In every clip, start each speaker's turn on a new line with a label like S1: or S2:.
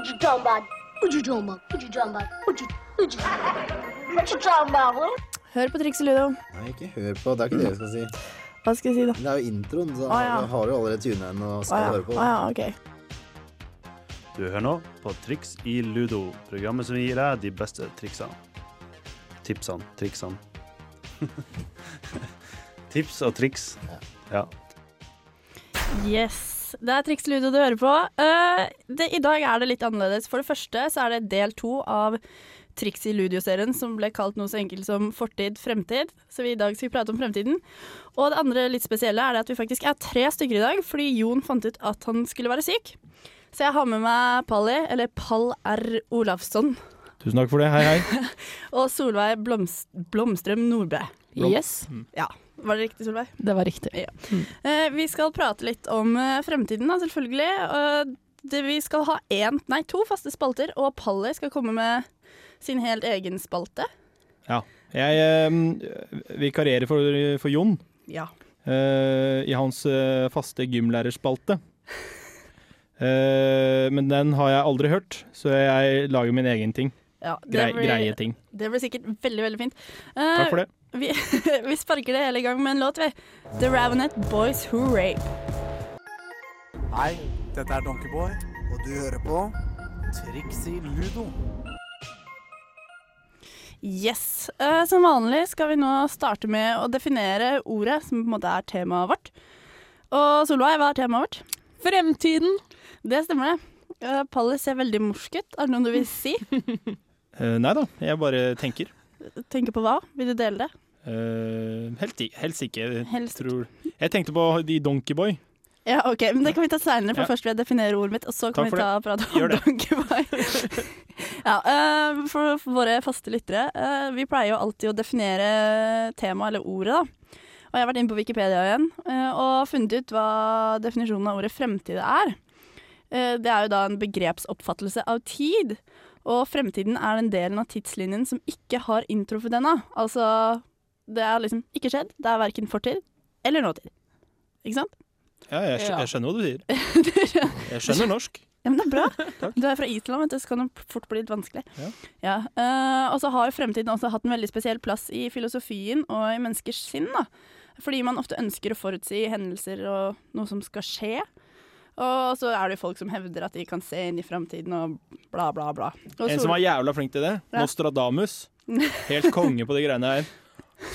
S1: ucu jambak. Ucu jambak. Ucu jambak. Ucu, ucu. Ucu jambak.
S2: Hør på trikset Ludo.
S3: Nei, ikke hør på. Det er ikke det jeg skal si.
S2: Hva skal jeg si, da?
S3: Det er jo introen, så
S2: Å, ja.
S3: har- har du allerede tunet inn og
S2: Å
S3: skal
S2: ja.
S3: høre på.
S2: Å, ja, ok.
S4: Du hører nå på Triks i Ludo, programmet som gir deg de beste triksene. Tipsene, triksene. Tips og triks. Ja.
S2: Yes. Det er Triks Ludo du hører på. Eh, det, I dag er det litt annerledes. For det første så er det del to av Triks i Ludio-serien som ble kalt noe så enkelt som Fortid, fremtid. Så vi i dag skal prate om fremtiden. Og det andre litt spesielle er det at vi faktisk er tre stykker i dag, fordi Jon fant ut at han skulle være syk. Så jeg har med meg Palli, eller Pall R. Olafsson,
S5: Tusen takk for det. Hei, hei.
S2: og Solveig Blomst Blomstrøm Nordbø.
S6: Yes,
S2: Ja, var det riktig, Solveig?
S6: det var riktig.
S2: Eh, vi skal prate litt om eh, fremtiden, da, selvfølgelig. Og det, vi skal ha én, nei to faste spalter, og Palli skal komme med sin helt egen spalte.
S5: Jeg eh, vikarierer for, for Jon
S2: Ja.
S5: eh, i hans eh, faste gymlærerspalte. Eh, men den har jeg aldri hørt, så jeg lager min egen ting. Grei, Greie ting.
S2: det blir sikkert veldig, veldig fint. Eh,
S5: Takk for det.
S2: Vi, vi sparker det hele i gang med en låt, vi. The Ravenet Boys Who Rape.
S7: Hei, dette er Donkeyboy, og du hører på Trixie Ludo.
S2: Yes. Eh, som vanlig skal vi nå starte med å definere ordet, som på en måte er temaet vårt. Og Solveig, hva er temaet vårt?
S6: Fremtiden.
S2: Det stemmer, det. Eh, Palli ser veldig morsk ut. Er det noe du vil si?
S5: Eh, nei da, jeg bare tenker.
S2: Tenker på hva? Vil du dele det?
S5: Eh, helt, i- helst ikke. Jeg
S2: Helst ikke.
S5: Tror. Jeg tenkte på de Donkeyboy.
S2: Ja, ok, men Det kan vi ta seinere, for
S5: Ja.
S2: først vil jeg definere ordet mitt. Og så kan vi
S5: Takk for
S2: ta og prate om
S5: Gjør det.
S2: Donkeyboy. ja, eh, for, for våre faste lyttere, eh, vi pleier jo alltid å definere temaet eller ordet, da. Og jeg har vært inne på Wikipedia igjen eh, og funnet ut hva definisjonen av ordet fremtid er. Eh, Det er jo da en begrepsoppfattelse av tid. Og fremtiden er den delen av tidslinjen som ikke har inntruffet ennå. Altså, det er liksom ikke skjedd. Det er verken fortid eller nåtid. Ikke sant?
S5: Ja, jeg, skj
S6: Ja.
S5: jeg skjønner hva du sier. Jeg skjønner norsk.
S2: Ja, men det er bra. Du er fra Island, vet du, så kan det fort bli litt vanskelig.
S5: Ja.
S2: eh, og så har fremtiden også hatt en veldig spesiell plass i filosofien og i menneskers sinn. Da. Fordi man ofte ønsker å forutsi hendelser og noe som skal skje. Og så er det jo folk som hevder at de kan se inn i fremtiden og bla, bla, bla. Og
S5: En som var jævla flink til det.
S2: Ja.
S5: Nostradamus. Helt konge på de greiene her.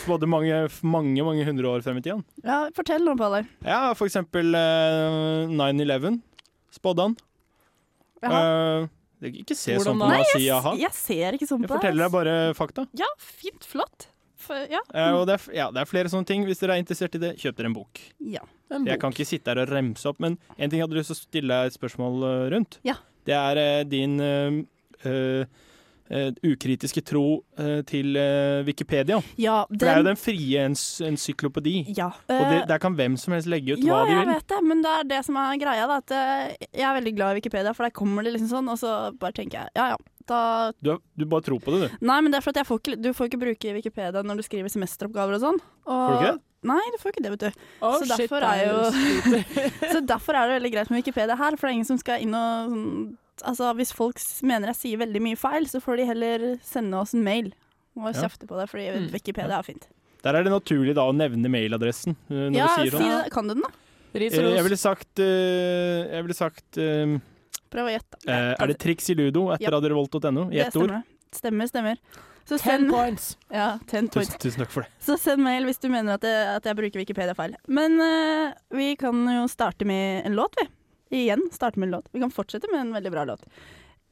S5: Spådde mange, mange, mange hundre år frem i tida.
S2: ja, fortell noe, Palle.
S5: Ja, for eksempel eh, 9-11 spådde han.
S2: Jaha.
S5: Eh, det- ikke se
S6: Hvordan
S5: sånn på
S6: da?
S5: meg og si
S2: jeg,
S5: jaha.
S2: s- jeg ser ikke sånn
S5: Jeg
S2: på
S5: forteller
S2: deg.
S5: deg bare fakta.
S2: Ja, fint, flott. For, ja.
S5: Eh, og det er, f- ja, det er flere sånne ting. Hvis dere er interessert i det, kjøp dere en bok.
S2: ja.
S6: En
S5: Jeg
S6: bok.
S5: kan ikke sitte her og remse opp, men en ting jeg hadde lyst til å stille deg et spørsmål eh, rundt.
S2: Ja.
S5: Det er eh, din eh, eh, eh, ukritiske tro eh, til eh, Wikipedia.
S2: ja
S5: For det er jo den frie ens ensyklopedi.
S2: Ja.
S5: Og det,
S2: eh,
S5: der kan hvem som helst legge ut
S2: ja,
S5: hva de
S2: jeg
S5: vil.
S2: vet det, men det er det som er greia. Da, at eh, jeg er veldig glad i Wikipedia, for der kommer det liksom sånn, og så bare tenker jeg ja ja. Da,
S5: Du, du bare tror på det, du.
S2: nei, men det er for at jeg får ikke, du får ikke bruke Wikipedia når du skriver semesteroppgaver og sånn. Og,
S5: Får du ikke det?
S2: Nei, du får ikke det, vet du.
S6: Å,
S2: så derfor
S6: shit,
S2: er
S6: det
S2: jo-
S6: sliter.
S2: Så derfor er det veldig greit med Wikipedia her, for det er ingen som skal inn og sånn Altså, hvis folk s- mener jeg sier veldig mye feil, så får de heller sende oss en mail og
S5: Ja.
S2: kjefte på det, fordi
S6: Mm.
S2: Wikipedia er fint.
S5: Der er det naturlig da å nevne mailadressen. eh, Når
S2: Ja,
S5: du
S2: si
S5: sier sånn.
S2: det. Kan du den, da?
S6: Ris
S5: Eh,
S6: og
S5: Jeg
S6: ros.
S5: ville sagt, eh, jeg ville sagt eh,
S2: Prøv å gjette.
S5: eh, Er det triks i ludo
S2: Ja.
S5: etter radiorevolt.no? I ett ord?
S2: stemmer. Stemmer, stemmer. Så
S6: Ten
S2: send
S6: points.
S2: Ja, ten points.
S5: Tusen, tusen takk for det.
S2: Så send mail hvis du mener at jeg, at jeg bruker Wikipedia feil. Men eh, vi kan jo starte med en låt, vi. Igjen starte med en låt. Vi kan fortsette med en veldig bra låt.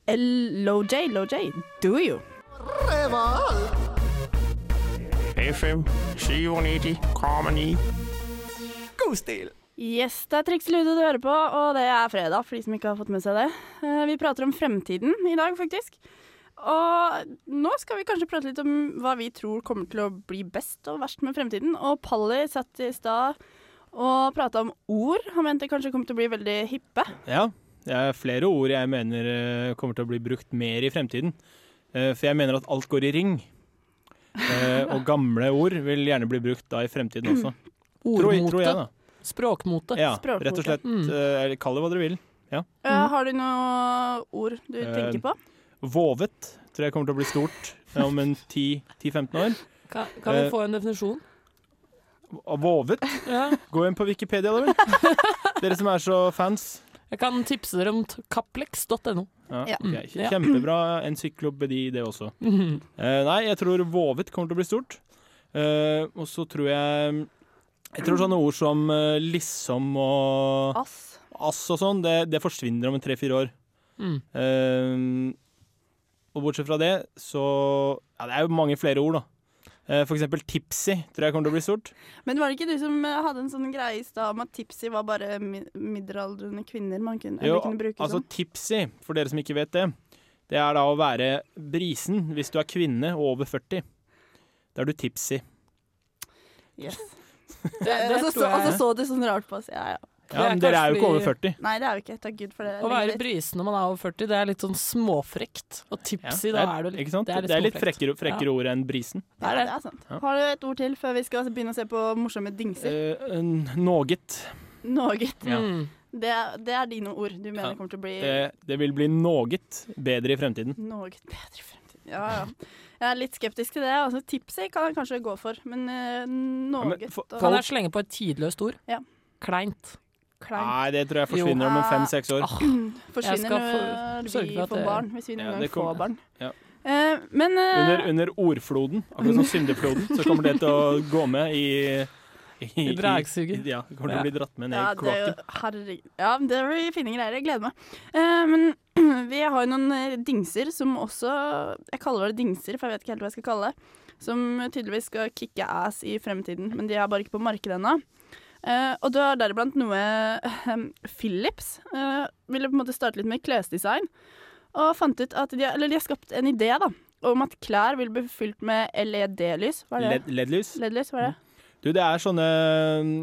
S2: LOJ, LOJ, Do You.
S8: FM 97,9.
S7: God stil!
S2: Yes, det er Triks Ludo du hører på, og det er fredag for de som ikke har fått med seg det. Eh, vi prater om fremtiden i dag, faktisk. Og nå skal vi kanskje prate litt om hva vi tror kommer til å bli best og verst med fremtiden. Og Palli satt i stad og prata om ord. Han mente kanskje kom til å bli veldig hippe.
S5: Ja, det er flere ord jeg mener eh, kommer til å bli brukt mer i fremtiden. Eh, For jeg mener at alt går i ring. Eh, Og gamle ord vil gjerne bli brukt da i fremtiden
S2: Mm.
S5: også. Tror, tror jeg,
S6: Ordmote.
S5: da.
S6: Språkmote.
S5: Ja,
S2: Språkmote.
S5: rett og slett.
S6: Mm.
S5: eh, eller Kall det hva dere vil. Ja.
S2: Eh,
S6: Mhm.
S2: har du noe ord du
S5: Eh,
S2: tenker på?
S5: Vovet tror jeg kommer til å bli stort eh, om en 10 10-15 år.
S6: Kan, kan vi
S5: Eh.
S6: få en definisjon?
S5: Og Vovet?
S6: Ja.
S5: Gå inn på Wikipedia, da vel. Dere som er så fans.
S6: Jeg kan tipse dere om t- kaplex.no.
S5: Ja,
S2: Ja.
S5: ok. Kje-
S6: Ja.
S5: Kjempebra encyklopedi, det også.
S6: Mhm.
S5: Eh, nei, jeg tror vovet kommer til å bli stort. Eh, og så tror jeg Jeg tror sånne ord som eh, liksom og
S2: Ass.
S5: ass og sånn, det, det forsvinner om en tre-fire år.
S6: Mm.
S5: Eh, og bortsett fra det, så Ja, det er jo mange flere ord, da. Eh, for eksempel tipsy tror jeg kommer til å bli stort.
S2: Men var det ikke du som eh, hadde en sånn greie i stad om at tipsy var bare mi middelaldrende kvinner man kunne, eller kunne bruke
S5: altså tipsy, for dere som ikke vet det, det er da å være brisen hvis du er kvinne og over 40. Da er du tipsy.
S2: sånn? Yes.
S6: Det, det
S2: og Altså, så,
S6: tror
S2: og så
S6: jeg.
S2: så du sånn rart på oss. Ja, ja.
S5: Ja,
S6: Det er
S5: men dere er jo
S6: kanskje
S5: ikke
S6: vi-
S5: over 40.
S2: Nei, det er jo ikke. Takk Gud for det.
S6: Å være
S2: Greit.
S6: brisen når man er over 40, det er litt sånn småfrekt. Og tipsy, da er du litt
S5: Ikke sant?
S6: Det er litt, småfrekt.
S5: frekkere, frekkere ord enn brisen.
S2: Ja,
S6: Det er
S2: det
S6: det.
S2: er sant.
S5: Ja.
S2: Har du et ord til før vi skal begynne å se på morsomme dingser?
S5: Uh, Noget.
S2: Noget.
S5: Ja.
S6: Mm.
S2: Det, er- det er dine ord du mener
S5: Ja.
S2: kommer til å bli
S5: Det, det vil bli noget bedre i fremtiden.
S2: noe bedre i fremtiden. Ja, ja. Jeg er litt skeptisk til det. Altså, tipsy kan jeg kanskje gå for, men eh,
S5: Ja,
S2: noe
S5: men for-
S2: og-
S6: Kan jeg slenge på et tidløst ord?
S2: Ja.
S6: Kleint. Ah,
S2: kleint
S5: Nei, det tror jeg forsvinner om
S2: Jo.
S5: fem-seks år.
S6: Jeg
S2: forsvinner
S6: skal
S2: når
S6: få- sørge
S2: vi
S6: for at
S2: får
S6: det-
S2: barn. Hvis vi
S5: Ja,
S2: noen gang
S5: det kommer-
S2: får barn.
S5: ja.
S2: Eh, men eh,
S5: Under, under ordfloden, akkurat som syndefloden, så kommer det til å gå med i I,
S6: I dragsuget.
S5: Ja, det kommer til å bli dratt med ned
S2: ja,
S5: i
S2: det er jo,
S5: kloakken.
S2: herregud. Ja, men det blir fine greier. Jeg gleder meg. Eh, men vi har jo noen eh, dingser som også Jeg kaller det dingser, for jeg vet ikke helt hva jeg skal kalle det. Som tydeligvis skal kicke ass i fremtiden, men de er bare ikke på markedet ennå. Eh, og du har deriblant noe eh, Philips eh, ville på en måte starte litt med klesdesign. Og fant ut at de, har- eller de har skapt en idé da, om at klær vil bli fylt med LED-lys. Hva er det?
S5: Led- LED-lys.
S2: LED-lys, hva er det?
S5: Du, det er sånne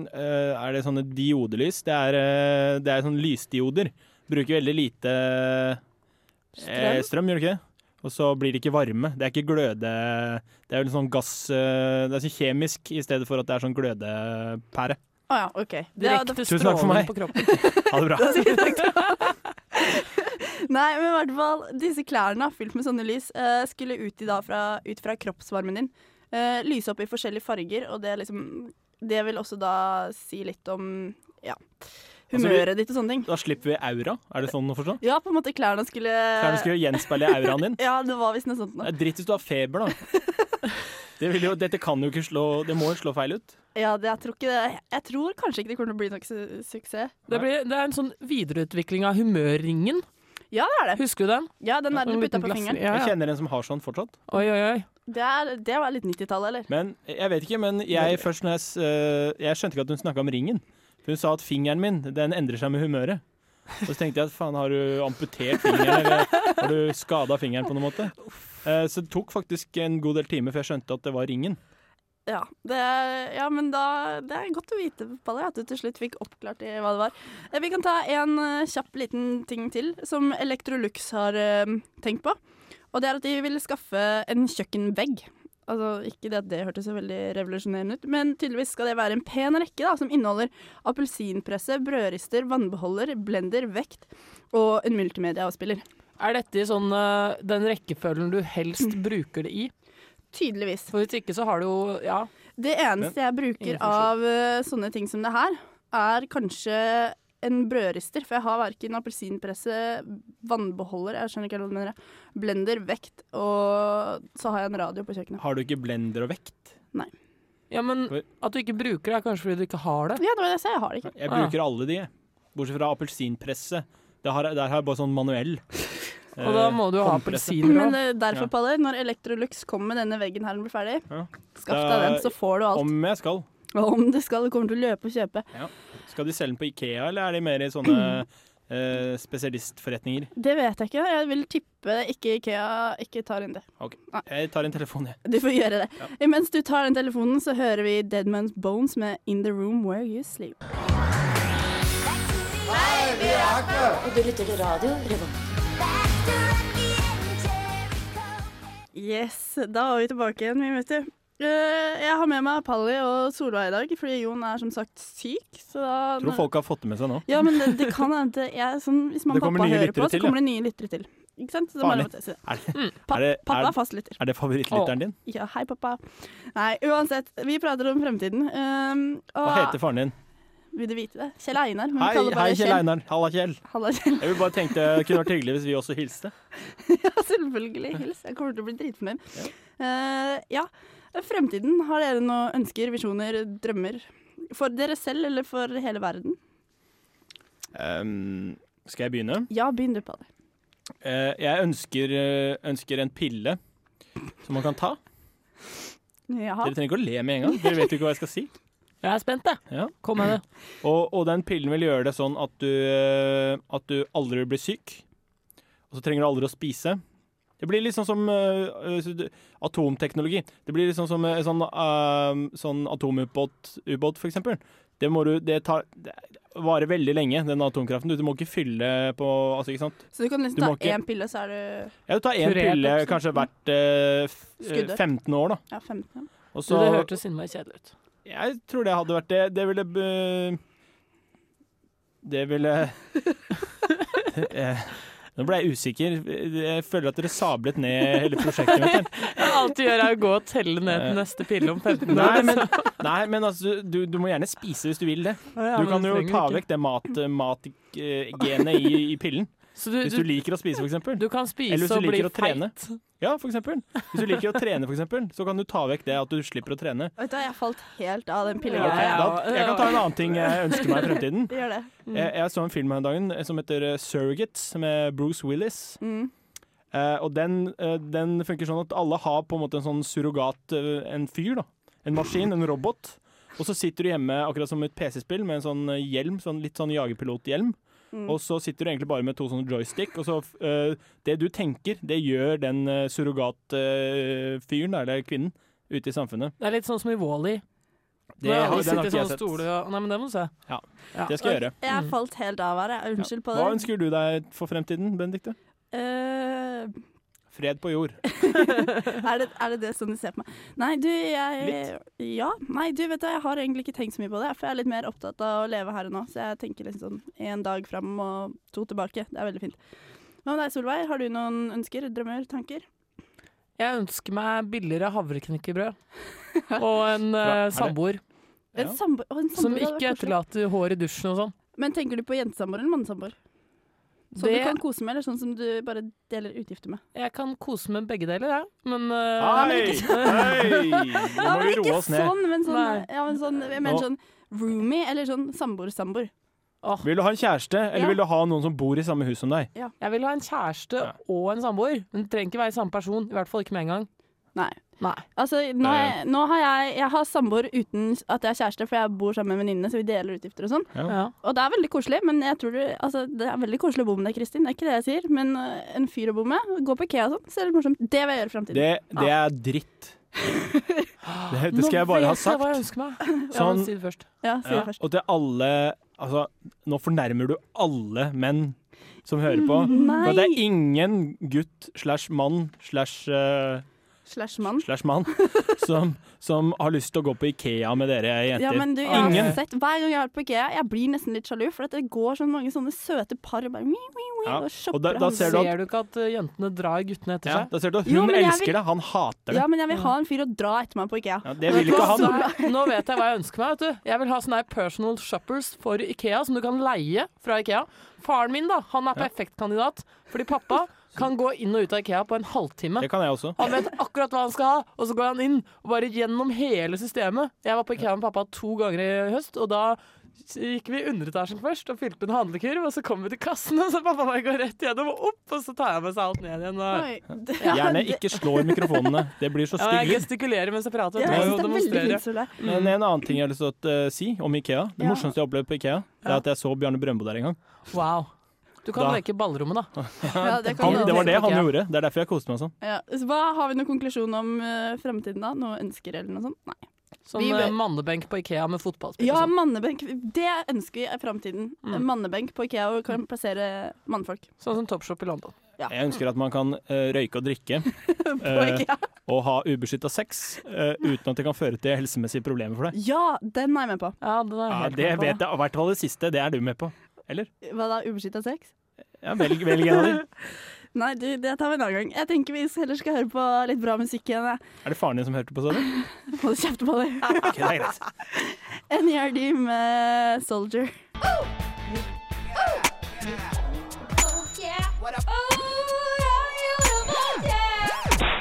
S5: øh, Er det sånne diodelys? Det er, øh, det er sånne lysdioder. Bruker veldig lite strøm, strøm gjør det ikke det? Og så blir det ikke varme. Det er ikke gløde... Det er vel sånn gass øh, Det er så kjemisk i stedet for at det er sånn glødepære.
S2: Å ja, OK. Det, det,
S6: Direkte
S5: Tusen takk for
S6: stråling
S5: meg.
S6: på kroppen.
S5: Ha det bra.
S2: Nei, men i hvert fall, disse klærne fylt med sånne lys eh, skulle ut, i dag fra, ut fra kroppsvarmen din. Eh, lyse opp i forskjellige farger, og det, er liksom, det vil også da si litt om ja,
S5: vi-
S2: humøret ditt og sånne ting.
S5: Da slipper vi aura. Er det sånn å forstå?
S2: Ja, på en måte klærne skulle
S6: Eh.
S5: Klærne skal jo gjenspeile auraen din.
S2: Ja, det var visst noe sånt
S5: Det
S2: noe.
S5: er dritt hvis du har feber, da. Det vil jo, dette kan jo ikke slå Det må jo slå feil ut.
S2: Ja, det, jeg, tror ikke det, jeg tror kanskje ikke det kommer til å bli noe su suksess.
S6: Det, blir, det er en sånn videreutvikling av humørringen.
S2: Ja, det er det.
S6: Husker du den?
S2: Ja, den der du
S6: En
S2: putta
S6: liten
S2: på
S6: glass-
S2: fingeren.
S6: Ja,
S5: Jeg
S6: ja.
S5: kjenner en som har sånn fortsatt.
S6: Oi, oi, oi.
S2: Det, er, det var litt 90-tallet, eller?
S5: Men jeg vet ikke, men jeg, først når jeg, s- øh, jeg skjønte ikke at hun snakka om ringen. For hun sa at fingeren min den endrer seg med humøret. Og så tenkte jeg at faen, har du amputert fingeren, eller har du skada fingeren på noen måte? Eh, Så det tok faktisk en god del timer før jeg skjønte at det var ringen.
S2: Ja, det, ja men da, det er godt å vite Palle, at du til slutt fikk oppklart i hva det var. Eh, Vi kan ta en eh, kjapp liten ting til som Electrolux har eh, tenkt på. Og det er at de vil skaffe en kjøkkenvegg. Altså, ikke det at det hørtes så veldig revolusjonerende ut, men tydeligvis skal det være en pen rekke da, som inneholder appelsinpresse, brødrister, vannbeholder, blender, vekt og en multimediaavspiller.
S6: Er dette i sånn eh, den rekkefølgen du helst bruker det i?
S2: Tydeligvis.
S6: For hvis ikke så har du jo Ja.
S2: Det eneste jeg bruker
S6: Ingen funksjon.
S2: av eh, sånne ting som det her, er kanskje en brødrister. For jeg har verken appelsinpresse, vannbeholder, jeg skjønner ikke helt hva du mener, jeg, blender, vekt, og så har jeg en radio på kjøkkenet.
S5: Har du ikke blender og vekt?
S6: ja, men
S5: Oi.
S6: at du ikke bruker det, er kanskje fordi du ikke har det.
S2: Ja, det var det jeg sa, jeg har det ikke.
S5: Jeg
S6: Ah.
S5: bruker alle de, jeg. bortsett fra appelsinpresse. Det har, der har jeg bare sånn manuell.
S6: Og da må du jo
S5: Eh,
S6: ha
S5: håndpresse.
S6: appelsiner
S2: Men
S6: òg.
S2: eh, derfor,
S5: Ja.
S2: Palle, når Electrolux kommer med denne veggen her når den blir ferdig,
S5: Ja.
S2: skaff deg den, så får du alt.
S5: Om jeg skal.
S2: Og om du skal, du kommer til å løpe og kjøpe.
S5: Skal de selge den på Ikea, eller er de mer i sånne eh, spesialistforretninger?
S2: Det vet jeg ikke. Jeg vil tippe ikke Ikea ikke tar inn det. Ah.
S5: Jeg tar en telefon, jeg.
S2: Du får gjøre det. Eh, Mens du tar den telefonen, så hører vi Dead Man's Bones med In The Room Where You Sleep.
S1: Og du lytter til radio Revolt.
S2: Yes, da var vi tilbake igjen, vi, vet du. Eh, jeg har med meg Palli og Solveig i dag, fordi Jon er som sagt syk. Så da,
S5: Jeg tror folk har fått det med seg nå.
S2: Ja, men det, det kan hende at jeg, sånn, Hvis mamma
S5: Det
S2: og
S5: kommer
S2: pappa
S5: nye
S2: hører på,
S5: lyttere til,
S2: så kommer det nye lyttere til. Ikke sant? Så det er bare
S5: Farlig.
S2: lov til å si det.
S5: Er det,
S2: Pa
S5: er det,
S2: pappa
S5: er,
S2: er fast lytter.
S5: er det favorittlytteren din?
S2: Ja, hei, pappa. Nei, uansett. Vi prater om fremtiden. Um, og
S5: Hva heter faren din?
S2: Vil du vite det? Kjell Einar. men vi
S5: Hei,
S2: kaller
S5: hei
S2: bare
S5: Kjell Einar. Halla, Kjell.
S2: Halla, Kjell.
S5: Jeg vil bare tenkte Det kunne vært hyggelig hvis vi også hilste.
S2: Ja, selvfølgelig. Hils. Jeg kommer til å bli dritfornøyd. Eh, ja. Fremtiden. Har dere noen ønsker, visjoner, drømmer? For dere selv eller for hele verden?
S5: Ehm, skal jeg begynne?
S2: Ja, begynn du, Palli.
S5: Eh, jeg ønsker, eh, ønsker en pille som man kan ta.
S2: Jaha.
S5: Dere trenger ikke å le med en gang. Dere vet jo ikke hva jeg skal si.
S6: Jeg er spent, jeg.
S5: Ja.
S6: Kom med det.
S5: Og, og den pillen vil gjøre det sånn at du, eh, at du aldri blir syk. Og så trenger du aldri å spise. Det blir litt sånn som eh, eh, atomteknologi. Det blir litt sånn som eh, sånn, eh, sånn atomubåt, ubåt, for eksempel. Det, må du, det, tar, det varer veldig lenge, den atomkraften. Du, du må ikke fylle på altså, ikke sant?
S2: Så du kan liksom
S5: Du
S2: ta
S5: må ikke-
S2: én pille, så er du
S5: Ja, du tar én
S6: Kurert,
S5: pille
S6: liksom.
S5: kanskje hvert eh, f-
S2: Skuddår.
S5: 15 år, da.
S2: ja, 15.
S5: Og
S6: Du,
S5: så,
S6: det hørtes innmari kjedelig ut.
S5: Jeg tror det hadde vært det. Det ville be- Det ville Eh, Nå ble jeg usikker. Jeg føler at dere sablet ned hele prosjektet mitt. her.
S6: Alt du gjør, er å gå og telle ned til neste pille om 15 år.
S5: Eh, Nei, men, nei, men altså, du, du må gjerne spise hvis du vil det. Du kan jo ta vekk det matgenet mat, eh, genet i, i pillen.
S6: Så du,
S5: Hvis du
S6: du,
S5: liker å spise, for eksempel.
S6: du kan
S5: Eller hvis
S6: spise
S5: du
S6: og bli
S5: liker å trene.
S6: feit.
S5: Ja, for eksempel. Hvis du liker å trene, for eksempel, så kan du ta vekk det at du slipper å trene.
S2: Vet du hva, jeg falt helt av den
S5: Ok,
S2: pillegreia.
S5: da, jeg kan ta en annen ting jeg ønsker meg i fremtiden.
S2: Det gjør det.
S5: Jeg, jeg så en film her en dagen som heter eh, Surrogates, med Bruce Willis.
S2: Mm.
S5: Eh, og den, eh, den funker sånn at alle har på en måte en sånn surrogat, eh, en fyr da. En maskin, en robot. Og så sitter du hjemme, akkurat som et PC-spill, med en sånn eh, hjelm, sånn, litt sånn jagerpilothjelm. Og så sitter du egentlig bare med to sånne joystick, og så eh, det du tenker, det gjør den eh, surrogatfyren, eller kvinnen, ute i samfunnet.
S6: Det er litt sånn som i Wall-E.
S5: Det, har- den har
S6: alle sitter sånn i
S5: ikke jeg
S6: sånne
S5: sett.
S6: stoler og Nei, men det må du se.
S5: Det skal jeg gjøre.
S2: Jeg har falt helt av her. jeg. Unnskyld på det.
S5: Mm. Hva ønsker du deg for fremtiden, Benedikte?
S2: Eh,
S5: Fred på jord.
S2: er, det, er det det sånn du ser på meg? Nei, du, jeg
S5: Litt.
S2: Ja. Nei, du, vet du, jeg har egentlig ikke tenkt så mye på det. For jeg er litt mer opptatt av å leve her og nå. Så jeg tenker liksom sånn én dag fram og to tilbake. Det er veldig fint. Hva med deg, Solveig? Har du noen ønsker, drømmer, tanker?
S6: Jeg ønsker meg billigere havreknekkebrød. Og en
S5: Fra-
S6: eh,
S5: er det-
S6: samboer
S2: En
S5: Ja.
S2: samboer? å, en
S6: som
S2: samboer hadde
S6: ikke
S2: vært koselig.
S6: etterlater hår i dusjen og sånn.
S2: Men tenker du på jentesamboer eller mannesamboer? Som
S6: Det
S2: du kan kose med, eller sånn som du bare deler utgifter med?
S6: Jeg kan kose med begge deler, jeg. Men eh,
S5: Hei! Hei! Nå må vi roe oss ned.
S2: sånn, men sånn,
S6: Nei.
S2: ja, men sånn Jeg mener sånn roomie, eller sånn samboer-samboer.
S5: Vil du ha en kjæreste, eller
S2: Ja.
S5: vil du ha noen som bor i samme hus som deg?
S6: jeg vil ha en kjæreste
S5: Ja.
S6: og en samboer. Men det trenger ikke være samme person. I hvert fall ikke med en gang.
S2: Nei.
S6: Nei.
S2: Altså, nå, har jeg, nå har jeg, jeg har samboer uten at jeg har kjæreste, for jeg bor sammen med venninnene, så vi deler utgifter og sånn.
S6: Ja.
S2: Og det er veldig koselig, men jeg tror du, altså, det er veldig koselig å bo med deg, Kristin. Det er ikke det jeg sier, men øh, en fyr å bo med, gå på IKEA og sånn, så er det morsomt. Det vil jeg gjøre i framtiden.
S5: Det, det er dritt. Det, det skal jeg bare ha
S6: Nå vet jeg hva jeg
S5: sagt.
S6: ønsker meg. Ja,
S5: Sånn-
S6: men si det først.
S2: Ja, si det
S5: Ja.
S2: først.
S5: Og til alle Altså, nå fornærmer du alle menn som hører på. For det er
S2: Nei!
S5: ingen gutt slash mann slash eh,
S2: Slash mann.
S5: slash mann som, som har lyst til å gå på Ikea med dere jenter.
S2: Ja, men du, jeg har
S5: ingen.
S2: sett, Hver gang jeg har vært på IKEA, jeg blir nesten litt sjalu, for at det går så mange sånne søte par og bare mi, mi, mi,
S5: Ja,
S2: og shopper.
S5: og da- da
S2: og
S5: ser
S6: Ser
S5: du
S6: du,
S5: at-
S6: ikke at eh, jentene drar guttene etter
S5: Ja,
S6: seg?
S5: da ser du at
S2: Jo,
S5: hun
S2: men jeg
S5: elsker
S2: vil-
S5: det, han hater det.
S2: Ja, men jeg vil ha en fyr å dra etter meg på IKEA.
S5: Ja, det vil ikke han.
S6: Nei, Nå vet jeg hva jeg ønsker meg. vet du. Jeg vil ha sånne her personal shoppers for Ikea, som du kan leie fra Ikea. Faren min da, han er perfekt kandidat, fordi pappa kan gå inn og ut av Ikea på en halvtime.
S5: Det kan jeg også.
S6: Han vet akkurat hva han skal ha, og så går han inn og bare gjennom hele systemet. Jeg var på Ikea med pappa to ganger i høst, og da gikk vi i underetasjen først og fylte en handlekurv, og så kom vi til kassen, og så pappa bare går rett gjennom og opp, og så tar jeg med seg alt ned igjen. Og...
S2: Oi, det,
S5: Gjerne ikke slå i mikrofonene. Det blir så
S6: Ja,
S5: stygg
S6: jeg
S5: lyd.
S6: gestikulerer mens jeg prater.
S2: Ja,
S6: Jeg
S2: jeg synes
S6: må jo
S2: det er veldig
S6: demonstrere.
S2: fint, Solveig.
S5: Men en annen ting jeg har lyst til å eh, si om Ikea. Det
S2: Ja.
S5: morsomste jeg opplevde på Ikea, det er at jeg så Bjarne Brøndbo der en gang.
S6: Wow. Du kan
S5: Da-
S6: leke ballrommet, da.
S2: Ja, det kan
S5: Han,
S2: du
S5: det
S2: gjøre.
S5: var det han
S6: Ikea.
S5: gjorde. Det er derfor jeg koste meg sånn.
S2: Ja. Så hva har vi noen konklusjon om uh, fremtiden da? Noe ønsker eller noe sånt? Nei.
S6: Sånn
S2: Vi-
S6: eh, mannebenk på Ikea med fotballspill.
S2: Ja,
S6: og sånn.
S2: mannebenk. Det Mm. ønsker vi er fremtiden. Mannebenk på IKEA og kan plassere mannfolk.
S6: Sånn som Topshop i London.
S2: Ja.
S5: Jeg ønsker at man kan eh, røyke og drikke eh,
S2: Ikea.
S5: og ha ubeskytta sex eh, uten at det kan føre til helsemessige problemer for deg.
S2: Ja, den er jeg med på.
S6: Ja, den er
S5: Ja,
S6: helt
S5: det
S6: med på
S5: vet jeg. I hvert fall det siste. Det er du med på. Eller?
S2: Hva da, ubeskytta sex?
S5: Ja, velg, velg en av dem.
S2: Nei, du, det tar vi en annen gang. Jeg tenker vi heller skal høre på litt bra musikk igjen. jeg.
S5: Er det faren din som hørte på, sa du?
S2: Hold kjeft på deg.
S5: Ok, det er greit.
S2: NERD med Soldier.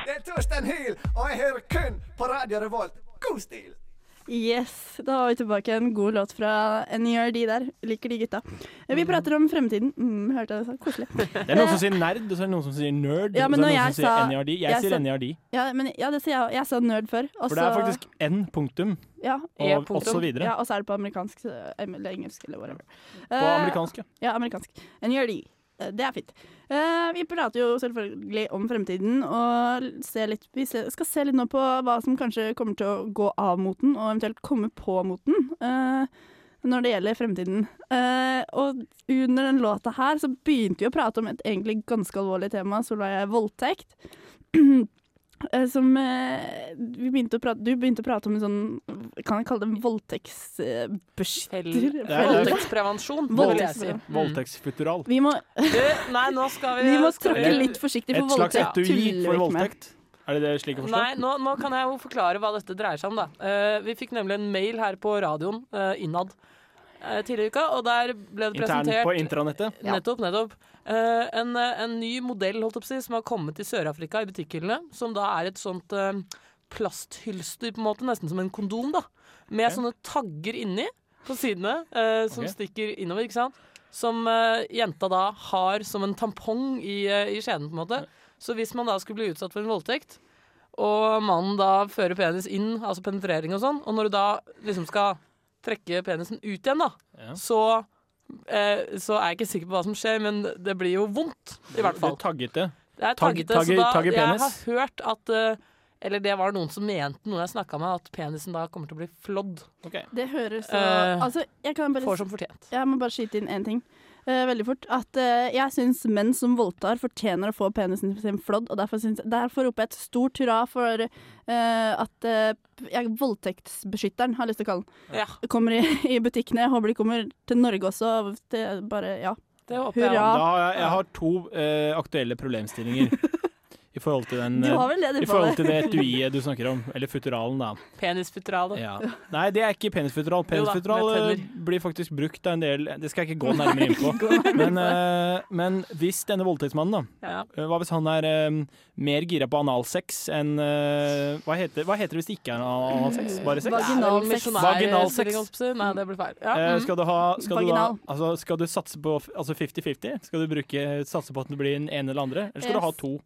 S7: Det er Torstein Hyl, og jeg hører kun på Radio Revolt. God stil!
S2: Yes, da var vi tilbake en god låt fra NERD der. Liker de gutta. Vi prater om fremtiden. Mm, hørte jeg det sa. Koselig.
S5: Det er noen som sier nerd, og så er det noen som sier nerd.
S2: Ja,
S5: og
S2: men når
S5: så er det noen
S2: jeg
S5: som sier
S2: sa-
S5: NERD. Jeg,
S2: jeg
S5: sier
S2: sa-
S5: NERD.
S2: Ja, men, ja det sier jeg òg. Jeg sa nerd før. og
S5: For det er
S2: så-
S5: faktisk N punktum,
S2: ja,
S6: E
S5: og,
S6: punktum.
S5: og så videre.
S2: ja, Og så er det på amerikansk så- eller engelsk eller whatever.
S5: På
S2: Eh,
S5: amerikansk, ja.
S2: Ja, amerikansk. NERD. Eh, Det er fint. Eh, vi prater jo selvfølgelig om fremtiden, og l- ser litt, vi se- skal se litt nå på hva som kanskje kommer til å gå av moten, og eventuelt komme på moten. eh, når det gjelder fremtiden. Eh, og under den låta her så begynte vi å prate om et egentlig ganske alvorlig tema, Solveig, voldtekt. Eh, som eh, vi begynte å prate, Du begynte å prate om en sånn Kan jeg kalle det en eh, voldtektsbeskytter?
S6: Fel-
S5: Det er-
S6: Voldtektsprevensjon, det vil jeg si.
S2: Voldtektsprevensjon.
S6: Mm.
S5: Voldtektsfutural.
S2: Vi må
S6: Du, nei, nå skal vi
S2: Vi må
S6: skal vi-
S2: tråkke litt forsiktig, for
S5: Et slags
S2: voldtekt
S5: etui
S2: tuller
S5: for
S2: vi ikke med.
S5: voldtekt. Er det det slik å forstå?
S6: Nei, nå, nå kan jeg jo forklare hva dette dreier seg om, da. Eh, vi fikk nemlig en mail her på radioen eh, innad eh, tidligere i uka, og der ble det
S5: Intern
S6: presentert
S5: på intranettet.
S6: Nettopp, nettopp. Eh, en, eh, en ny modell holdt jeg på å si, som har kommet til Sør-Afrika i butikkhyllene. Som da er et sånt eh, plasthylster, på en måte, nesten som en kondom, da. Med
S5: Ok.
S6: sånne tagger inni på sidene, eh, som
S5: Ok.
S6: stikker innover, ikke sant. Som eh, jenta da har som en tampong i, eh, i skjeden, på en måte. Så hvis man da skulle bli utsatt for en voldtekt, og mannen da fører penis inn, altså penetrering og sånn, og når du da liksom skal trekke penisen ut igjen, da,
S5: Ja.
S6: så eh, så er jeg ikke sikker på hva som skjer, men det blir jo vondt, i hvert fall.
S5: Du tagget det.
S6: Det er
S5: Tagg-
S6: taggete,
S5: tagge-
S6: så da
S5: tagge
S6: jeg har
S5: penis.
S6: hørt at eh, Eller det var noen som mente, noen jeg snakka med, at penisen da kommer til å bli flådd.
S2: Det høres så
S6: Eh,
S2: Altså, jeg kan bare
S6: Får som fortjent.
S2: Jeg må bare skyte inn én ting. eh, veldig fort. At eh, jeg syns menn som voldtar, fortjener å få penisen sin flådd. Og derfor, syns- derfor roper jeg et stort hurra for eh, at eh, jeg, voldtektsbeskytteren, har jeg lyst til å kalle den,
S6: Ja,
S2: kommer i, i butikkene. Jeg håper de kommer til Norge også. og Det, bare, ja.
S6: det håper jeg.
S2: Hurra.
S5: Da har jeg, jeg har to eh, aktuelle problemstillinger i forhold til den
S2: Du har vel det,
S5: eh,
S2: du,
S5: i forhold til det etuiet du snakker om, eller futuralen, da.
S6: Penisfuturale.
S5: Ja. Nei, det er ikke penisfutteral.
S6: Jo da, med
S5: Penisfutteral eh,
S6: tenner.
S5: blir faktisk brukt av en del Det skal jeg ikke gå nærmere inn på. Men, eh, men hvis denne voldtektsmannen, da
S6: Ja.
S5: eh, Hva hvis han er eh, mer gira på analsex enn eh, hva, heter, hva heter det hvis det ikke er analsex? Bare sex?
S6: Det er
S2: Vaginal
S6: vel
S2: sex.
S6: misjonær-
S5: Vaginal sex.
S6: stilling, holdt på å si. Nei, det blir feil. Ja.
S5: Eh,
S6: mm.
S5: skal, du ha, skal, du da,
S2: Vaginal.
S5: altså, skal du satse på f- altså 50-50? skal du bruke, satse på at den blir den ene eller andre? Eller skal du ha
S2: Yes.
S5: to?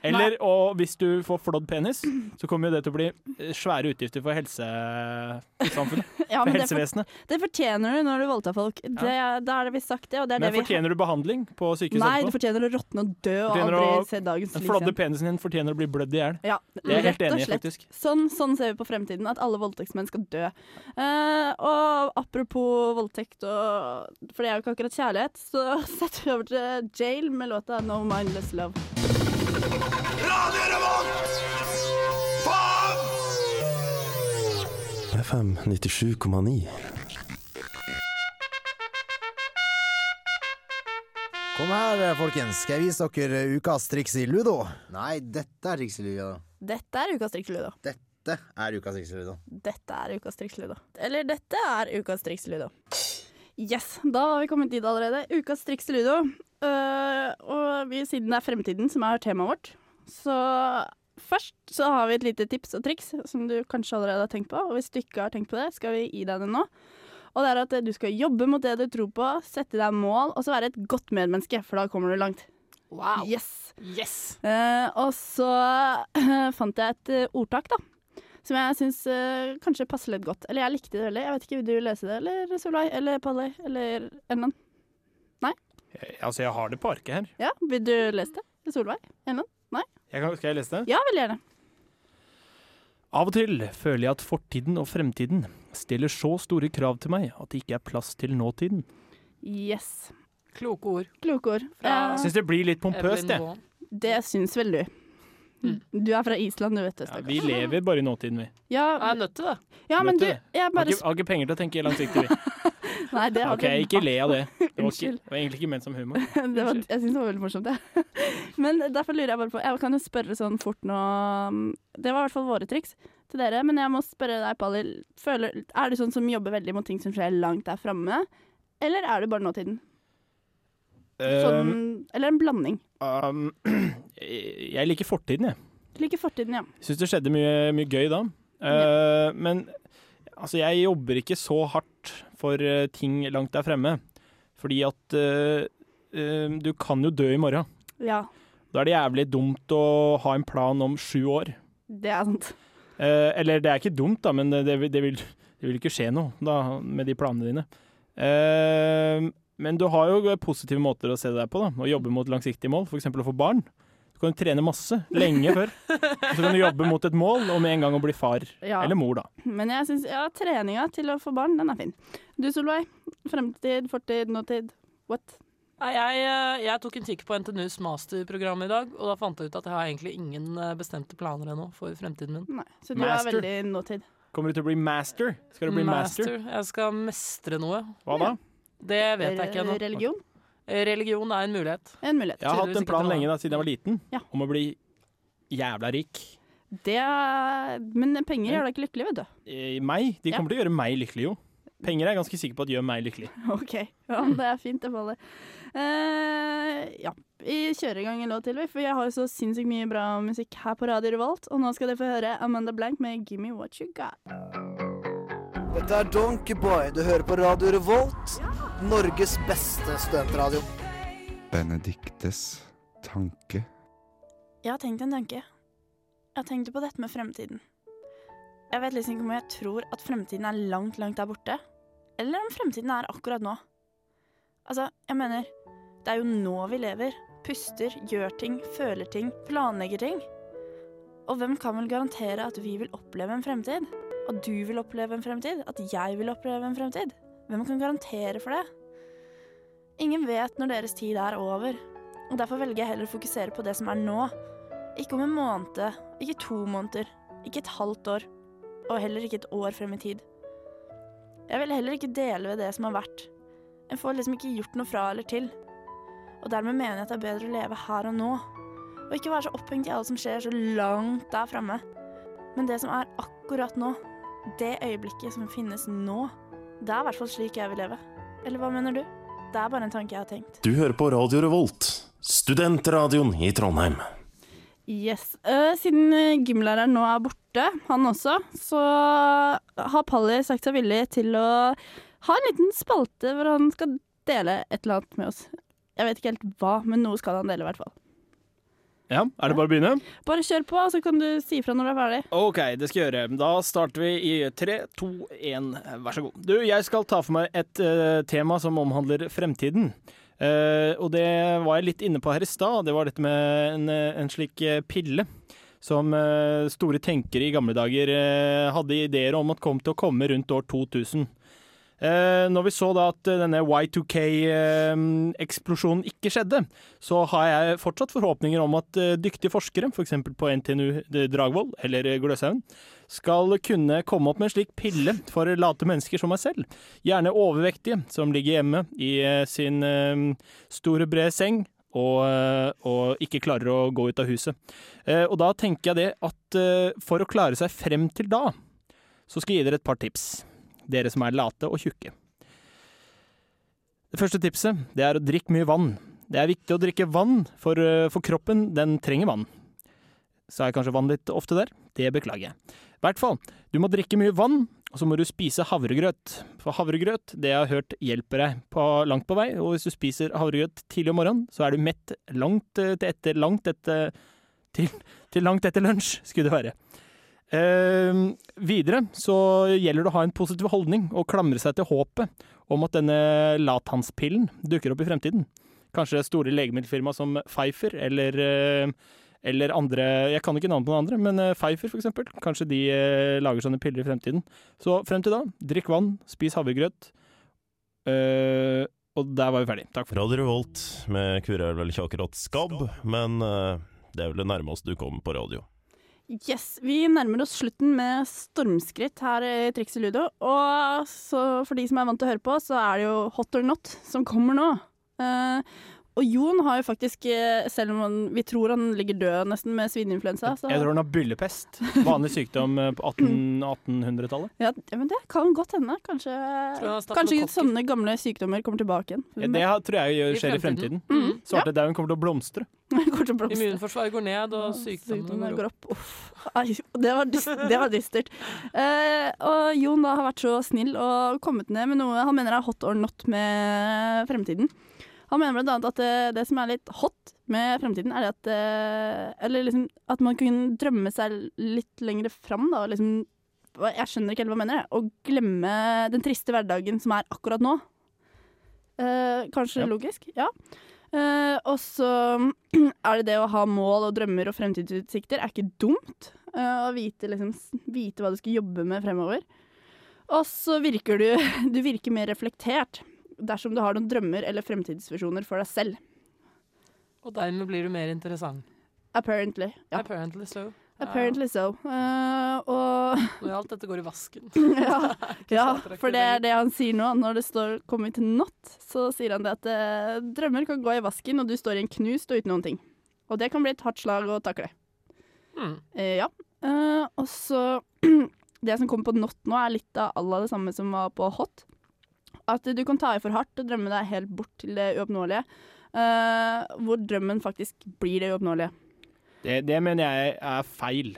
S5: Eller, og hvis du får flådd penis, så kommer jo det til å bli eh, svære utgifter for helsesamfunnet.
S2: Ja,
S5: For
S2: men det, for,
S5: helsevesenet.
S2: det fortjener du når du voldtar folk. Det, da er det vi sagt det, og det er
S5: Men
S2: det vi
S5: fortjener du behandling på sykehus
S2: Nei, du
S5: etterpå?
S2: fortjener å råtne og dø og
S5: Fortjener
S2: aldri
S5: å-
S2: se dagens
S5: Den
S2: lys
S5: flådde
S2: igjen.
S5: penisen din fortjener å bli blødd i hjel.
S2: Ja,
S5: Det er jeg helt
S2: rett og
S5: enig i,
S2: slett.
S5: faktisk.
S2: Sånn, sånn ser vi på fremtiden, at alle voldtektsmenn skal dø. Eh, og apropos voldtekt, og, for det er jo ikke akkurat kjærlighet, så setter vi over til Jail med låta 'No Mindless Love'.
S9: FM 97,9.
S7: Kom her, folkens. Skal jeg vise dere ukas triks i ludo?
S3: Nei, dette er Rikseluga, da.
S2: Dette er ukas triksludo.
S3: Dette er ukas Rikseluga.
S2: Dette er ukas triksludo. Eller dette er ukas triksludo. Yes, da har vi kommet dit allerede. Ukas triksludo. Uh, og vi, siden det er fremtiden som er temaet vårt, så først så har vi et lite tips og triks som du kanskje allerede har tenkt på. Og hvis du ikke har tenkt på det, skal vi gi deg det nå. Og det er at eh, du skal jobbe mot det du tror på, sette deg mål, og så være et godt medmenneske, for da kommer du langt.
S6: Wow.
S2: Yes!
S6: Yes!
S2: Eh, og så eh, fant jeg et eh, ordtak, da. Som jeg syns eh, kanskje passer litt godt. Eller jeg likte det veldig. Jeg vet ikke, Vil du lese det, eller Solveig? Eller Palle? Eller Elnan?
S5: Eh, Altså, jeg har det på arket her.
S2: Ja, vil du lese det? Solveig? Elnan?
S5: Jeg kan, skal jeg lese det?
S2: Ja, veldig gjerne.
S5: Av og til føler jeg at fortiden og fremtiden stiller så store krav til meg at det ikke er plass til nåtiden.
S2: Yes.
S6: Kloke ord.
S2: Kloke ord.
S6: Fra-
S2: Eh,
S5: Syns det blir litt pompøst, jeg.
S6: Evelyn Waugh.
S2: det syns vel du.
S6: Mm.
S2: Du er fra Island, du vet det.
S5: Ja,
S2: stakkars.
S5: vi lever bare i nåtiden, vi.
S2: Ja,
S6: Jeg er nødt til det.
S2: ja, men
S5: vet
S2: du,
S5: det.
S2: jeg
S5: Har
S2: bare
S5: ikke, har ikke penger til å tenke langsiktig, vi.
S2: sp- Nei, det har
S5: OK, ikke le av det. Det var, ikke,
S2: Unnskyld.
S5: det var egentlig ikke ment som humor.
S2: det var, jeg syns det var veldig morsomt, jeg. Men derfor lurer jeg bare på Jeg kan jo spørre sånn fort nå um, Det var i hvert fall våre triks til dere, men jeg må spørre deg, Pally. Føler, er du sånn som jobber veldig mot ting som skjer langt der framme, eller er du bare nåtiden? Sånn, eller en blanding.
S5: Um, jeg liker fortiden, jeg.
S2: Du liker fortiden, ja.
S5: Syns det skjedde mye, mye gøy da. Eh, Men altså, jeg jobber ikke så hardt for eh, ting langt der fremme. Fordi at eh, eh, du kan jo dø i morgen.
S2: Ja,
S5: Da er det jævlig dumt å ha en plan om sju år.
S2: det er sant.
S5: Eh, eller det er ikke dumt, da, men det, det, vil- det, vil, det vil ikke skje noe da, med de planene dine. Eh, men du har jo positive måter å se deg på, da, å jobbe mot langsiktige mål, f.eks. å få barn. Du kan jo trene masse, lenge før. Og så kan du jobbe mot et mål om en gang å bli far.
S2: Ja.
S5: Eller mor, da.
S2: Men jeg syns ja, treninga til å få barn, den er fin. Du Solveig. Fremtid, fortid, nåtid. What?
S6: Nei, jeg, eh, jeg tok en kikk på NTNUs masterprogram i dag, og da fant jeg ut at jeg har egentlig ingen eh, bestemte planer ennå for fremtiden min.
S2: Nei. Så du er
S5: Master.
S2: veldig nåtid.
S5: Kommer du til å bli master? Skal du bli master?
S6: Jeg skal mestre noe.
S5: Hva da?
S6: Det vet jeg ikke ennå.
S2: Religion?
S6: Religion er en mulighet.
S2: En mulighet.
S5: Jeg har hatt
S6: Tydeligvis
S5: en
S6: ikke
S5: plan
S6: noe.
S5: lenge da, siden jeg var liten,
S2: Ja.
S5: om å bli jævla rik.
S2: Det er, men penger gjør deg ikke lykkelig, vet du.
S5: Eh, Meg? De
S2: Ja.
S5: kommer til å gjøre meg lykkelig, jo. Penger er jeg ganske sikker på at gjør meg lykkelig.
S2: OK. Ja, men det er fint, det faller. Eh, ja. Vi kjører i gang en låt til, vi, for jeg har jo så sinnssykt mye bra musikk her på Radio Revolt. Og nå skal dere få høre Amanda Blank med 'Give Me What You Got'.
S7: Dette er Donkeyboy. Du hører på Radio Revolt. Norges beste studentradio.
S10: Benediktes tanke.
S2: Jeg har tenkt en tanke. Jeg har tenkt på dette med fremtiden. Jeg vet liksom ikke om jeg tror at fremtiden er langt, langt der borte, eller om fremtiden er akkurat nå. Altså, jeg mener, det er jo nå vi lever. Puster, gjør ting, føler ting, planlegger ting. Og hvem kan vel garantere at vi vil oppleve en fremtid? At du vil oppleve en fremtid? At jeg vil oppleve en fremtid? Hvem kan garantere for det? Ingen vet når deres tid er over, og derfor velger jeg heller å fokusere på det som er nå. Ikke om en måned, ikke to måneder, ikke et halvt år, og heller ikke et år frem i tid. Jeg vil heller ikke dele ved det som har vært. En får liksom ikke gjort noe fra eller til. Og dermed mener jeg at det er bedre å leve her og nå, og ikke være så opphengt i alt som skjer så langt der framme. Men det som er akkurat nå, det øyeblikket som finnes nå, det er i hvert fall slik jeg vil leve. Eller hva mener du? Det er bare en tanke jeg har tenkt.
S9: Du hører på Radio Revolt, studentradioen i Trondheim.
S2: Yes. Eh, siden eh, gymlæreren nå er borte, han også, så har Palli sagt seg villig til å ha en liten spalte hvor han skal dele et eller annet med oss. Jeg vet ikke helt hva, men noe skal han dele i hvert fall.
S5: Ja, Er det bare å begynne?
S2: Bare kjør på, så kan du si ifra når du er ferdig.
S5: OK, det skal jeg gjøre. Da starter vi i tre, to, én, vær så god. Du, jeg skal ta for meg et eh, tema som omhandler fremtiden. Eh, og det var jeg litt inne på her i stad. Det var dette med en, eh, en slik eh, pille som eh, store tenkere i gamle dager eh, hadde ideer om at kom til å komme rundt år 2000. Eh, når vi så da at eh, denne Y2K-eksplosjonen eh, ikke skjedde, så har jeg fortsatt forhåpninger om at eh, dyktige forskere, f.eks. på NTNU Dragvoll eller eh, Gløshaugen, skal kunne komme opp med en slik pille for late mennesker som meg selv. Gjerne overvektige, som ligger hjemme i eh, sin eh, store, brede seng. Og, eh, og ikke klarer å gå ut av huset. Eh, Og da tenker jeg det at eh, for å klare seg frem til da, så skal jeg gi dere et par tips. Dere som er late og tjukke. Det første tipset det er å drikke mye vann. Det er viktig å drikke vann, for, eh, for kroppen den trenger vann. Sa jeg kanskje vann litt ofte der? Det beklager jeg. I hvert fall, du må drikke mye vann, og så må du spise havregrøt. For havregrøt, det jeg har hørt, hjelper deg på, langt på vei, og hvis du spiser havregrøt tidlig om morgenen, så er du mett langt eh, til etter, langt etter til, til langt etter lunsj, skulle det være. Eh, videre så gjelder det å ha en positiv holdning og klamre seg til håpet om at denne latanspillen dukker opp i fremtiden kanskje store legemiddelfirma som Pfeiffer eller eh, eller andre, jeg kan ikke navnet på noen andre, men eh, Pfeiffer for eksempel, kanskje de eh, lager sånne piller i fremtiden. Så frem til da, drikk vann, spis havregrøt, eh, Og der var vi ferdig. Takk for
S11: Radio Revolt med Kure er vel ikke akkurat skabb, men eh, det er vel det nærmeste du kommer på radio.
S2: Yes, Vi nærmer oss slutten med stormskritt her i Triks i Ludo. Og så for de som er vant til å høre på, så er det jo Hot or not som kommer nå. Eh, og Jon har jo faktisk, eh, selv om han, vi tror han ligger død nesten med svineinfluensa så-
S5: Jeg tror han har byllepest. Vanlig sykdom eh, på 18, 1800-tallet.
S2: ja, men Det kan godt hende. Kanskje,
S5: han har startet
S2: kanskje
S5: med
S2: sånne gamle sykdommer kommer tilbake igjen.
S5: Ja, Det har- tror jeg gjør,
S6: I
S5: skjer i
S6: fremtiden.
S5: fremtiden.
S2: Mhm.
S5: Svartedauden kommer til å blomstre.
S6: Immunforsvaret går ned, og sykdommene går opp.
S2: Uff, ai, det, var dys- det var dystert. Eh, og Jon da har vært så snill og kommet ned med noe han mener er hot or not med fremtiden. Han mener blant annet at det, det som er litt hot med fremtiden, er det at, eh, eller liksom, at man kunne drømme seg litt lenger fram. Da, og liksom, hva- jeg skjønner ikke helt hva han mener. jeg, Og glemme den triste hverdagen som er akkurat nå. Eh, kanskje logisk, ja. Eh, og så er det det å ha mål og drømmer og fremtidsutsikter er ikke dumt. Eh, å vite, liksom, s- vite hva du skal jobbe med fremover. Og så virker du, du virker mer reflektert dersom du har noen drømmer eller fremtidsvisjoner for deg selv.
S6: Og dermed blir du mer interessant.
S2: Apparently. Ja.
S6: Apparently so.
S2: Apparently so. Eh, og
S6: Ja. Når alt dette går i vasken.
S2: ja, ja,
S6: så attraktivt
S2: for det er det han sier nå. Når det står 'kommer til natt', så sier han det at eh, drømmer kan gå i vasken, og du står i en knust og uten noen ting. Og det kan bli et hardt slag å takle.
S6: Hmm.
S2: Eh, ja. Eh, og så Det som kommer på not nå, er litt av alla det samme som var på hot. At du kan ta i for hardt og drømme deg helt bort til det uoppnåelige. eh, hvor drømmen faktisk blir det uoppnåelige.
S5: Det, det mener jeg er feil.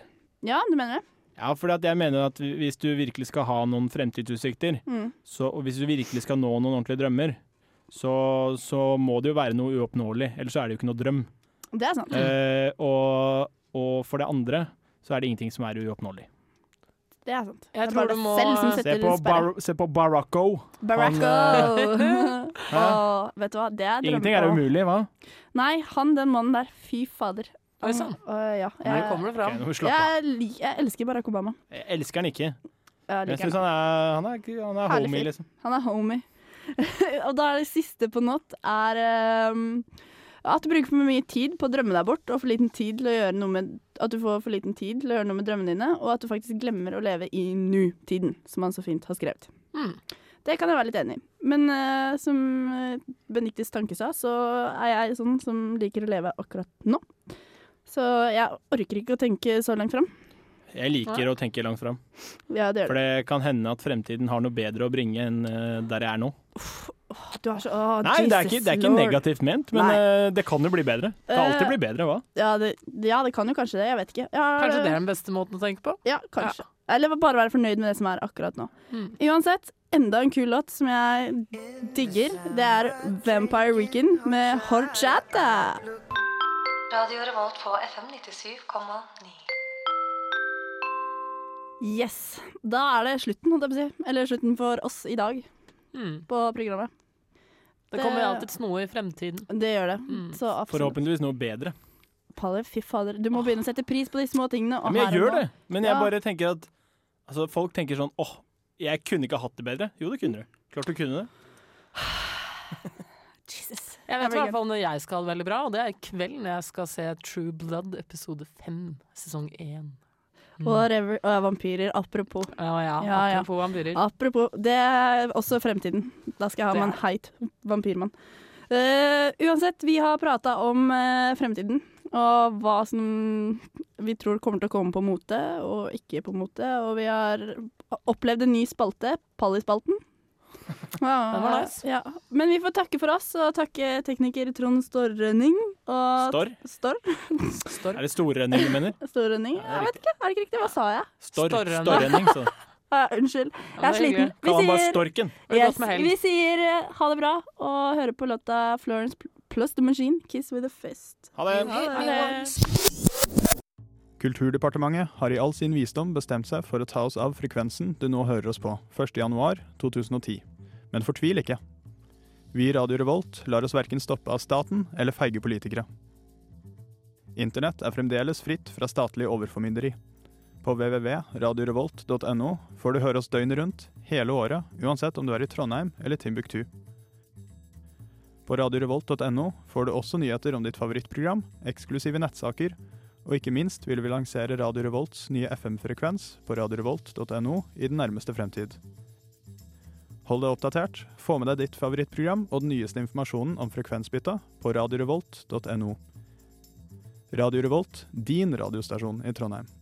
S2: Ja, du mener det?
S5: Ja, for jeg mener at hvis du virkelig skal ha noen fremtidsutsikter,
S2: Mm.
S5: så, og hvis du virkelig skal nå noen ordentlige drømmer, så, så må det jo være noe uoppnåelig, ellers så er det jo ikke noe drøm.
S2: Det er sant.
S5: Eh, og, og for det andre så er det ingenting som er uoppnåelig.
S2: Det er sant.
S6: Jeg
S2: det er
S6: tror
S2: bare
S6: du
S2: deg
S6: må-
S2: selv som
S5: Se
S2: setter
S5: på,
S2: en sperre.
S5: Bar se på Baracko.
S2: Baracko!
S5: Han, eh,
S2: Åh, vet du hva, det er
S5: eh, ingenting er
S2: drømmebarn.
S5: umulig, hva?
S2: Nei, han den mannen der, fy fader.
S6: Oi, sann.
S2: Åh, ja.
S5: Hvor kommer det fra? Ok, nå slapp
S2: jeg, lik- jeg elsker Barack Obama.
S5: Jeg elsker han ikke.
S2: Jeg
S5: Jeg
S2: liker
S5: syns han er, han er, han er
S2: Herlig
S5: homie,
S2: fyr.
S5: liksom.
S2: Han er homie. og da er det siste på natt er ehm, at du bruker for mye tid på å drømme deg bort, og for liten tid til å gjøre noe med at du får for liten tid til å gjøre noe med drømmene dine, og at du faktisk glemmer å leve i nu-tiden, som han så fint har skrevet. Det kan jeg være litt enig i. Men eh, som eh, Benedictes tanke sa, så er jeg sånn som liker å leve akkurat nå. Så jeg orker ikke å tenke så langt fram.
S5: Jeg liker å tenke langt fram.
S2: Ja, det gjør
S5: For det kan hende at fremtiden har noe bedre å bringe enn eh, der jeg er nå.
S2: Åh, Du er så Åh,
S5: Nei, det er ikke,
S2: Jesus
S5: det er ikke
S2: Lord.
S5: negativt ment, men
S2: Nei.
S5: eh, det kan jo bli bedre. Det kan alltid
S2: Eh,
S5: bli bedre, hva?
S2: Ja det, ja, det kan jo kanskje det. Jeg vet ikke. Ja,
S6: Kanskje det er den beste måten å tenke på?
S2: Ja, kanskje. Eller bare være fornøyd med det som er akkurat nå.
S6: Mm.
S2: Uansett, enda en kul låt som jeg digger. Det er Vampire Weekend med Horchata.
S12: Radio Revolt på FM 97,9.
S2: Yes. Da er det slutten, holdt jeg på å si. Eller slutten for oss i dag
S6: Mm.
S2: på programmet.
S6: Det kommer alltid noe i fremtiden.
S2: Det gjør det.
S6: Mm.
S2: Så absolutt.
S5: Forhåpentligvis noe bedre.
S2: Palle, fy fader. Du må begynne å sette pris på de små tingene. og
S5: Ja, men jeg
S2: her og
S5: gjør
S2: nå.
S5: det. Men jeg
S2: Ja.
S5: bare tenker at altså, folk tenker sånn åh, jeg kunne ikke hatt det bedre. Jo, det kunne du. Klart du kunne det.
S6: Jeg vet i
S2: Very
S6: hvert fall når jeg skal ha det veldig bra, og det er i kveld når jeg skal se True Blood episode 5, sesong 1. Mm.
S2: Og rev- og vampyrer, apropos.
S6: ja, apropos vampyrer.
S2: Apropos, det er også fremtiden. Da skal jeg ha
S6: Det er
S2: meg en heit vampyrmann. Eh, uansett, vi har prata om eh, fremtiden og hva som vi tror kommer til å komme på mote og ikke på mote. Og vi har opplevd en ny spalte, Pallispalten. Ja,
S6: Den var nice.
S2: ja. Men vi får takke for oss, og takke tekniker Trond Storrønning. Og
S5: Storr?
S2: Storr?
S5: Er det storrenning du mener?
S2: Storrønning? Jeg vet ikke, er det ikke riktig? Hva sa jeg?
S5: Storr. Storrenning, så.
S2: Ja, unnskyld. Jeg
S5: Ja,
S2: er
S5: det er
S2: sliten.
S5: hyggelig. Kall han bare Storken. Ha det
S2: Yes,
S5: godt med helg.
S2: vi sier eh, ha det bra, og hører på låta Florence pl- Plus The Machine, 'Kiss With A Fist'.
S5: Ha det.
S2: Ha det.
S13: Kulturdepartementet har i all sin visdom bestemt seg for å ta oss av frekvensen du nå hører oss på, 1.1.2010. Men fortvil ikke. Vi i Radio Revolt lar oss verken stoppe av staten eller feige politikere. Internett er fremdeles fritt fra statlig overformynderi. På www.radiorevolt.no får du høre oss døgnet rundt, hele året, uansett om du er i Trondheim eller Timbuktu. På radiorevolt.no får du også nyheter om ditt favorittprogram, eksklusive nettsaker, og ikke minst vil vi lansere Radio Revolts nye FM-frekvens på radiorevolt.no i den nærmeste fremtid. Hold deg oppdatert, få med deg ditt favorittprogram og den nyeste informasjonen om frekvensbytta på radiorevolt.no. Radio Revolt, din radiostasjon i Trondheim.